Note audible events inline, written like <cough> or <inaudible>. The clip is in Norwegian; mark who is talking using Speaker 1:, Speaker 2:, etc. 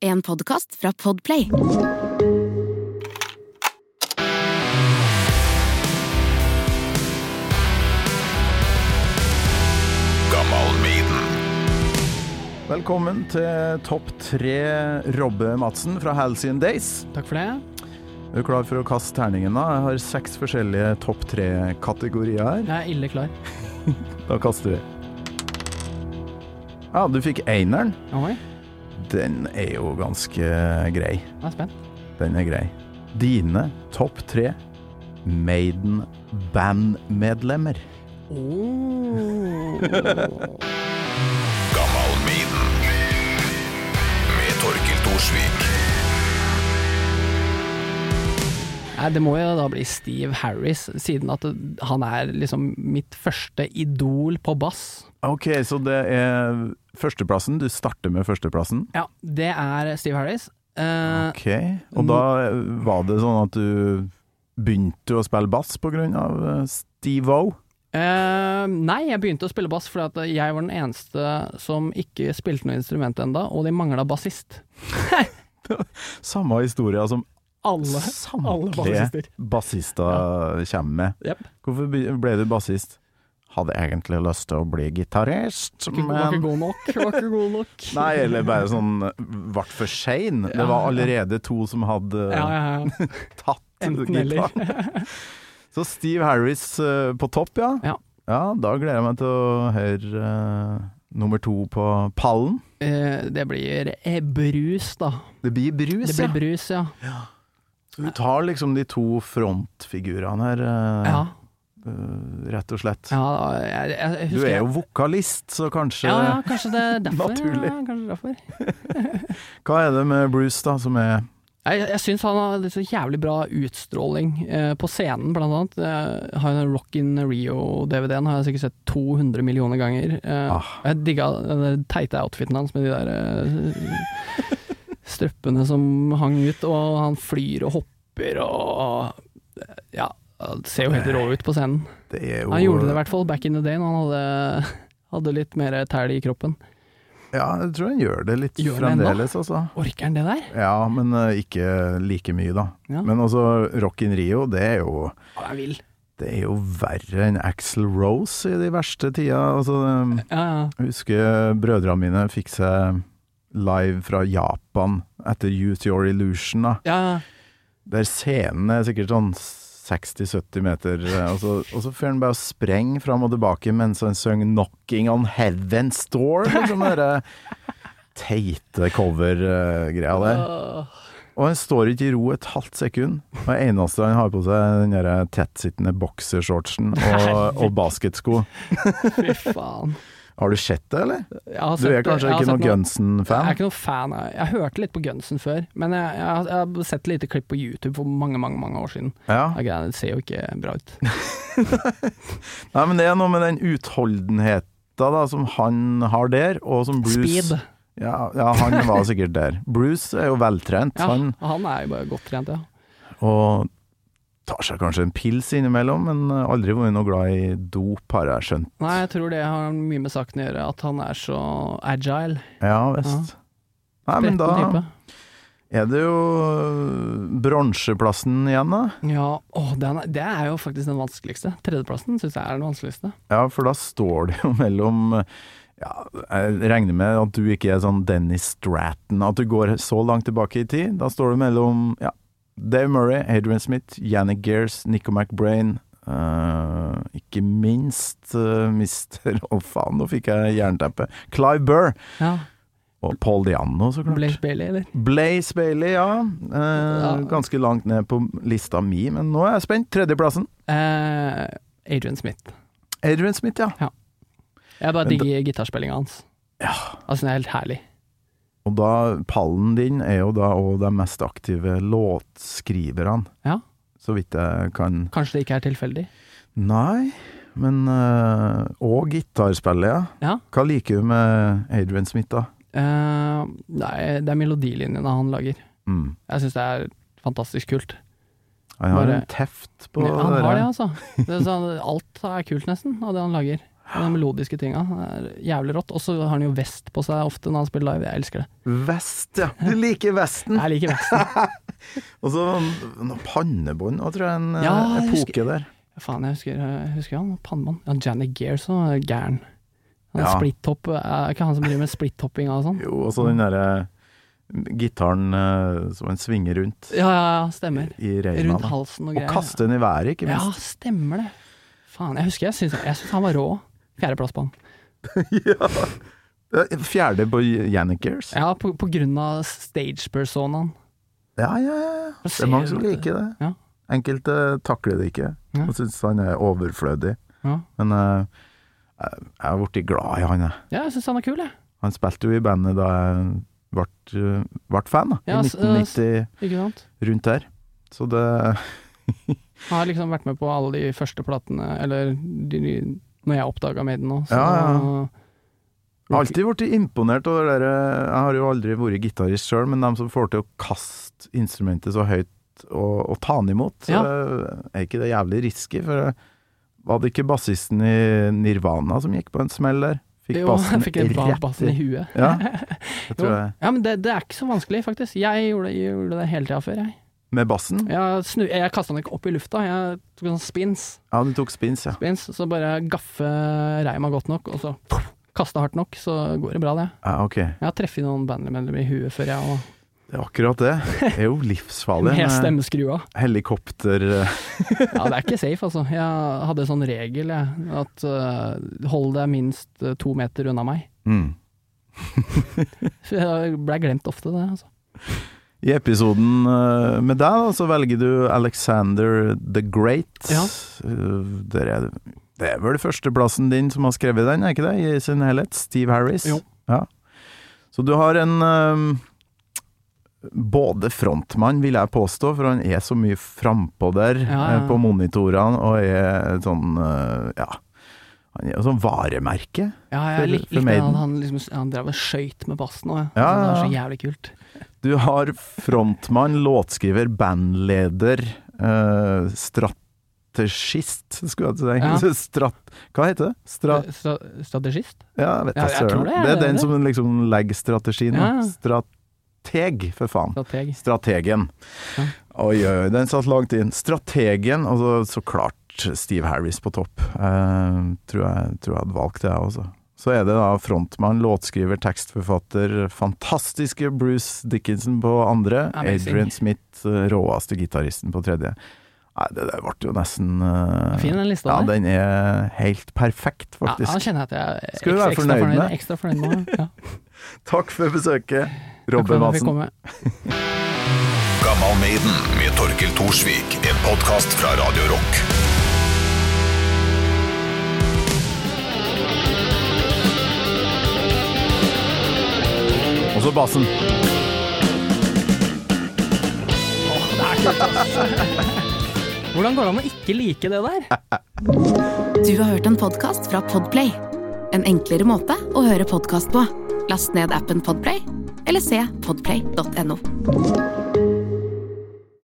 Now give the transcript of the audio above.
Speaker 1: En podkast fra Podplay.
Speaker 2: Velkommen til topp tre Robbe Madsen fra Halcyon Days.
Speaker 3: Takk for det.
Speaker 2: Er du klar for å kaste terningen? da? Jeg har seks forskjellige topp tre-kategorier her.
Speaker 3: Jeg er ille klar.
Speaker 2: Da kaster vi. Ja, du fikk eineren.
Speaker 3: Oi,
Speaker 2: Den er jo ganske grei.
Speaker 3: jeg er spent.
Speaker 2: Den er grei. Dine topp tre Maiden-bandmedlemmer.
Speaker 3: Nei, det må jo da bli Steve Harris, siden at han er liksom mitt første idol på bass.
Speaker 2: OK, så det er førsteplassen. Du starter med førsteplassen.
Speaker 3: Ja, det er Steve Harris. Eh,
Speaker 2: Ok, og da var det sånn at du begynte å spille bass på grunn av eh, Steve-O?
Speaker 3: eh, nei, jeg begynte å spille bass fordi at jeg var den eneste som ikke spilte noe instrument enda, og de mangla bassist.
Speaker 2: Samme historia som
Speaker 3: Alle, alle
Speaker 2: samtlige
Speaker 3: bassister.
Speaker 2: bassister kommer med.
Speaker 3: Yep.
Speaker 2: Hvorfor be- ble du bassist? Hadde egentlig lyst til å bli gitarist,
Speaker 3: Var ikke
Speaker 2: men
Speaker 3: god nok. <laughs> Var ikke god nok.
Speaker 2: <laughs> Nei, eller bare sånn eh, Vart for sein. Det var allerede to som hadde
Speaker 3: Ja, ja,
Speaker 2: <laughs>
Speaker 3: ja.
Speaker 2: tatt
Speaker 3: Enten
Speaker 2: <laughs>
Speaker 3: eller.
Speaker 2: gitaren. Så Steve Harris eh, på topp, ja.
Speaker 3: Ja.
Speaker 2: da gleder jeg meg til å høre eh, nummer to på pallen.
Speaker 3: Eh, det blir eh, brus, da.
Speaker 2: Det blir brus,
Speaker 3: Det
Speaker 2: ja.
Speaker 3: blir brus, ja.
Speaker 2: Så du tar liksom de to frontfigurene her, eh,
Speaker 3: Ja,
Speaker 2: eh, rett og slett.
Speaker 3: ja jeg, jeg, jeg
Speaker 2: Du
Speaker 3: husker
Speaker 2: er jo vokalist, så kanskje
Speaker 3: Ja, ja, kanskje det er
Speaker 2: <laughs>
Speaker 3: derfor.
Speaker 2: Naturlig.
Speaker 3: Ja, kanskje derfor.
Speaker 2: Hva er det med Bruce, da, som er
Speaker 3: Jeg, jeg syns han har litt så jævlig bra utstråling eh, på scenen, blant annet. Jeg har jo den Rock in Rio-DVD-en har jeg sikkert sett 200 millioner ganger. Eh,
Speaker 2: Ah.
Speaker 3: Jeg digga den der teite outfiten hans med de der eh, <laughs> strøppene som hang ut, og han flyr og hopper og eh, Ja, det ser jo helt rå ut på scenen.
Speaker 2: Det er jo
Speaker 3: Han gjorde det i hvert fall back in the day, når han hadde, hadde litt mer tæl i kroppen.
Speaker 2: Ja, jeg tror han gjør det litt
Speaker 3: Gjør han
Speaker 2: fremdeles, altså.
Speaker 3: Orker han det der?
Speaker 2: Ja, men eh, ikke like mye, da.
Speaker 3: Ja.
Speaker 2: Men altså, Rock in Rio, det er jo
Speaker 3: Han er vill.
Speaker 2: Det er jo verre enn Axel Rose i de verste tida. Altså, eh,
Speaker 3: Ja, ja.
Speaker 2: jeg husker brødrene mine fikk seg live fra Japan etter Use Your Illusion, da.
Speaker 3: Ja, ja.
Speaker 2: Der scenen er sikkert sånn 60-70 meter, eh, og så, og så får han bare sprenge fram og tilbake mens han synger 'Knocking on Heaven's Door'. Liksom den derre teite cover-greia der. Og han står ikke i ro et halvt sekund. Og det eneste han har på seg, er den derre tettsittende boksershortsen og, og basketsko.
Speaker 3: Fy faen.
Speaker 2: Har du sett det, eller?
Speaker 3: Jeg har
Speaker 2: Du er
Speaker 3: sett det- jeg
Speaker 2: kanskje
Speaker 3: har
Speaker 2: ikke
Speaker 3: sett
Speaker 2: noen
Speaker 3: Jeg er
Speaker 2: Gunsen-fan?
Speaker 3: ikke noen fan av Jeg hørte litt på Gunsen før, men jeg, jeg, har- jeg har sett lite klipp på YouTube for mange, mange mange år siden.
Speaker 2: Ja.
Speaker 3: Ja, greiene ser jo ikke bra ut.
Speaker 2: Nei, men det er noe med den utholdenheten da, som han har der, og som Bruce
Speaker 3: Speed.
Speaker 2: Ja, ja, han var sikkert der. Bruce er jo veltrent,
Speaker 3: Ja,
Speaker 2: han,
Speaker 3: han er jo bare godt trent, ja.
Speaker 2: og tar seg kanskje en pils innimellom, men aldri vært noe glad i dop, har jeg skjønt.
Speaker 3: Nei, jeg tror det har mye med saken å gjøre, at han er så agile.
Speaker 2: Ja visst. Nei, men
Speaker 3: Spretten
Speaker 2: da
Speaker 3: type.
Speaker 2: er det jo øh, bronseplassen igjen, da.
Speaker 3: Ja, å, den er, det er jo faktisk den vanskeligste. Tredjeplassen syns jeg er den vanskeligste.
Speaker 2: Ja, for da står det jo <laughs> mellom øh, ja, Jeg regner med at du ikke er sånn Dennis Stratton, at du går så langt tilbake i tid. Da står det mellom ja, Dave Murray, Adrian Smith, Yannick Gears, Nico McBrain øh, Ikke minst øh, Mr. <laughs> Å faen, nå fikk jeg jernteppe. Clive Burr
Speaker 3: Ja,
Speaker 2: og Paul Diano, så klart.
Speaker 3: Blaze Bailey, eller?
Speaker 2: Blaze Bailey, ja. Eh, ganske langt ned på lista mi, men nå er jeg spent. Tredjeplassen.
Speaker 3: Eh, Adrian Smith.
Speaker 2: Adrian Smith, ja.
Speaker 3: Jeg bare
Speaker 2: Men
Speaker 3: digger gitarspillinga hans. Ja. Altså, den er helt herlig.
Speaker 2: Og da, pallen din er jo da òg de mest aktive låtskriverne,
Speaker 3: Ja.
Speaker 2: så vidt jeg kan
Speaker 3: Kanskje det ikke er tilfeldig.
Speaker 2: Nei, men eh, Og gitarspillet, ja.
Speaker 3: Ja.
Speaker 2: Hva liker du med Adrian Smith, da?
Speaker 3: Eh, nei, det er melodilinjene han lager.
Speaker 2: Mm.
Speaker 3: Jeg syns det er fantastisk kult.
Speaker 2: Han har
Speaker 3: Bare-
Speaker 2: en teft på
Speaker 3: han har det,
Speaker 2: der.
Speaker 3: altså. Det er sånn, alt er kult, nesten, av det han lager. De melodiske tinga. er Jævlig rått. Og så har han jo vest på seg ofte når han spiller live. Jeg elsker det.
Speaker 2: Vest, ja. Du liker
Speaker 3: <laughs>
Speaker 2: vesten.
Speaker 3: Jeg liker
Speaker 2: <laughs>
Speaker 3: vesten.
Speaker 2: Og så noe pannebånd òg, tror jeg. En eh,
Speaker 3: Ja, jeg
Speaker 2: epoke
Speaker 3: husker-
Speaker 2: der.
Speaker 3: Faen, jeg husker, jeg husker han. Pannemann. Ja, Janet Gears var gæren. Han
Speaker 2: Ja.
Speaker 3: splitthopp Er ikke han som driver med splitthopping og sånn?
Speaker 2: Jo, og så den derre mm, gitaren eh, som han svinger rundt
Speaker 3: Ja, ja, ja, stemmer.
Speaker 2: i reima.
Speaker 3: Rundt
Speaker 2: da.
Speaker 3: halsen og
Speaker 2: Og
Speaker 3: greier.
Speaker 2: kaste den i været, ikke
Speaker 3: Ja,
Speaker 2: minst.
Speaker 3: stemmer det. Faen, jeg husker jeg syns jeg synes han var rå. Fjerdeplass på han.
Speaker 2: <laughs> Eh, Fjerde på Janikers. Ja.
Speaker 3: Ja, på, på grunn av stage-personaen.
Speaker 2: ja, ja, ja. Det er mange som liker det.
Speaker 3: Ja.
Speaker 2: Enkelte takler det ikke
Speaker 3: Ja.
Speaker 2: og syns han er overflødig.
Speaker 3: Ja.
Speaker 2: Men eh, jeg jeg har blitt glad i han, jeg.
Speaker 3: Ja, jeg syns han er kul, jeg.
Speaker 2: Han spilte jo i bandet da jeg ble, ble fan, da.
Speaker 3: Ja,
Speaker 2: I
Speaker 3: s-
Speaker 2: 1990,
Speaker 3: Ikke sant?
Speaker 2: rundt der. Så det
Speaker 3: Han har liksom vært med på alle de første platene, eller de, de, når jeg oppdaga Maiden nå. Så,
Speaker 2: Ja, ja. Jeg har alltid blitt imponert over det der eh, Jeg har jo aldri vært gitarist sjøl, men de som får til å kaste instrumentet så høyt og, og ta den imot,
Speaker 3: Ja.
Speaker 2: eh, er ikke det jævlig risky? For eh, var det ikke bassisten i Nirvana som gikk på en smell der? Fikk
Speaker 3: Jo,
Speaker 2: bassen
Speaker 3: jeg fikk en ba-
Speaker 2: rett
Speaker 3: bassen i
Speaker 2: i
Speaker 3: huet. <laughs>
Speaker 2: Ja, det tror
Speaker 3: Jo.
Speaker 2: jeg.
Speaker 3: Ja, men det, det er ikke så vanskelig, faktisk. Jeg gjorde, jeg gjorde det hele tida før, jeg.
Speaker 2: Med bassen?
Speaker 3: Jeg, snu, jeg kasta den ikke opp i lufta, jeg tok en sånn spins,
Speaker 2: Ja, du tok spins, ja.
Speaker 3: spins så bare gaffe reima godt nok, og så kasta hardt nok, så går det bra, det.
Speaker 2: ja ok.
Speaker 3: Jeg har truffet noen bandmedlemmer i huet før, jeg òg.
Speaker 2: Det er akkurat det. Det
Speaker 3: <laughs>
Speaker 2: er jo livsfarlig
Speaker 3: Med
Speaker 2: med
Speaker 3: stemmeskrua.
Speaker 2: helikopter eh,
Speaker 3: Ja, det er ikke safe, altså. Jeg hadde en sånn regel, jeg, at eh, hold deg minst eh, to meter unna meg.
Speaker 2: mm.
Speaker 3: Så jeg blei glemt ofte, det. Altså.
Speaker 2: I episoden eh, med deg da, så velger du Alexander the Great.
Speaker 3: Ja.
Speaker 2: Eh, Der er, det er vel førsteplassen din som har skrevet den, er ikke det? I sin helhet. Steve Harris.
Speaker 3: Jo.
Speaker 2: Ja. Så du har en eh, både frontmann, vil jeg påstå, for han er så mye frampå der
Speaker 3: Ja, ja.
Speaker 2: eh, på monitorene og er et sånn eh, Ja. Han er jo sånn varemerke.
Speaker 3: Ja,
Speaker 2: For-
Speaker 3: jeg lik,
Speaker 2: for
Speaker 3: likte
Speaker 2: Maiden.
Speaker 3: han, han, liksom, han drev og skøyt med bassen òg,
Speaker 2: Ja,
Speaker 3: det var
Speaker 2: ja,
Speaker 3: så
Speaker 2: ja.
Speaker 3: jævlig kult.
Speaker 2: Du har frontmann, låtskriver, bandleder, eh, strategist Skulle jeg til å
Speaker 3: Ja.
Speaker 2: si. Strat, hva heter det? Stra,
Speaker 3: Eh, Stra strategist?
Speaker 2: ja, jeg vet
Speaker 3: Ja,
Speaker 2: da
Speaker 3: jeg
Speaker 2: søren.
Speaker 3: tror det er
Speaker 2: Det er
Speaker 3: det,
Speaker 2: den
Speaker 3: det.
Speaker 2: som liksom legger strategien. da.
Speaker 3: Ja.
Speaker 2: Strateg, for faen.
Speaker 3: Strateg.
Speaker 2: Strategen.
Speaker 3: Ja.
Speaker 2: Oi, oi, oi, den satt langt inn. Strategen, og så, så klart Steve Harris på topp. Eh, tror, jeg, tror jeg hadde valgt det, jeg også. Så er det da frontmann, låtskriver, tekstforfatter, fantastiske Bruce Dickinson på andre.
Speaker 3: Amazing.
Speaker 2: Adrian Smith, eh, råeste gitaristen på tredje. Nei, det der ble jo nesten eh,
Speaker 3: Fin den lista
Speaker 2: Ja,
Speaker 3: der.
Speaker 2: den er helt perfekt,
Speaker 3: Ja,
Speaker 2: faktisk.
Speaker 3: han kjenner jeg at jeg er
Speaker 2: Skal du være
Speaker 3: ekstra
Speaker 2: fornøyd med?
Speaker 3: Ekstra fornøyd med ja.
Speaker 2: Takk for besøket,
Speaker 3: Takk
Speaker 2: <laughs>
Speaker 3: for
Speaker 2: Robin
Speaker 3: at jeg
Speaker 2: Madsen.
Speaker 3: fikk komme.
Speaker 4: Gammal Maiden med Torkel Thorsvik. En podkast fra Radio Rock.
Speaker 2: Og så bassen.
Speaker 3: Hvordan går det an å ikke like det der?
Speaker 1: Du har hørt en podcast fra Podplay. En enklere måte å høre podcast på. Last ned appen Podplay, eller se podplay.no.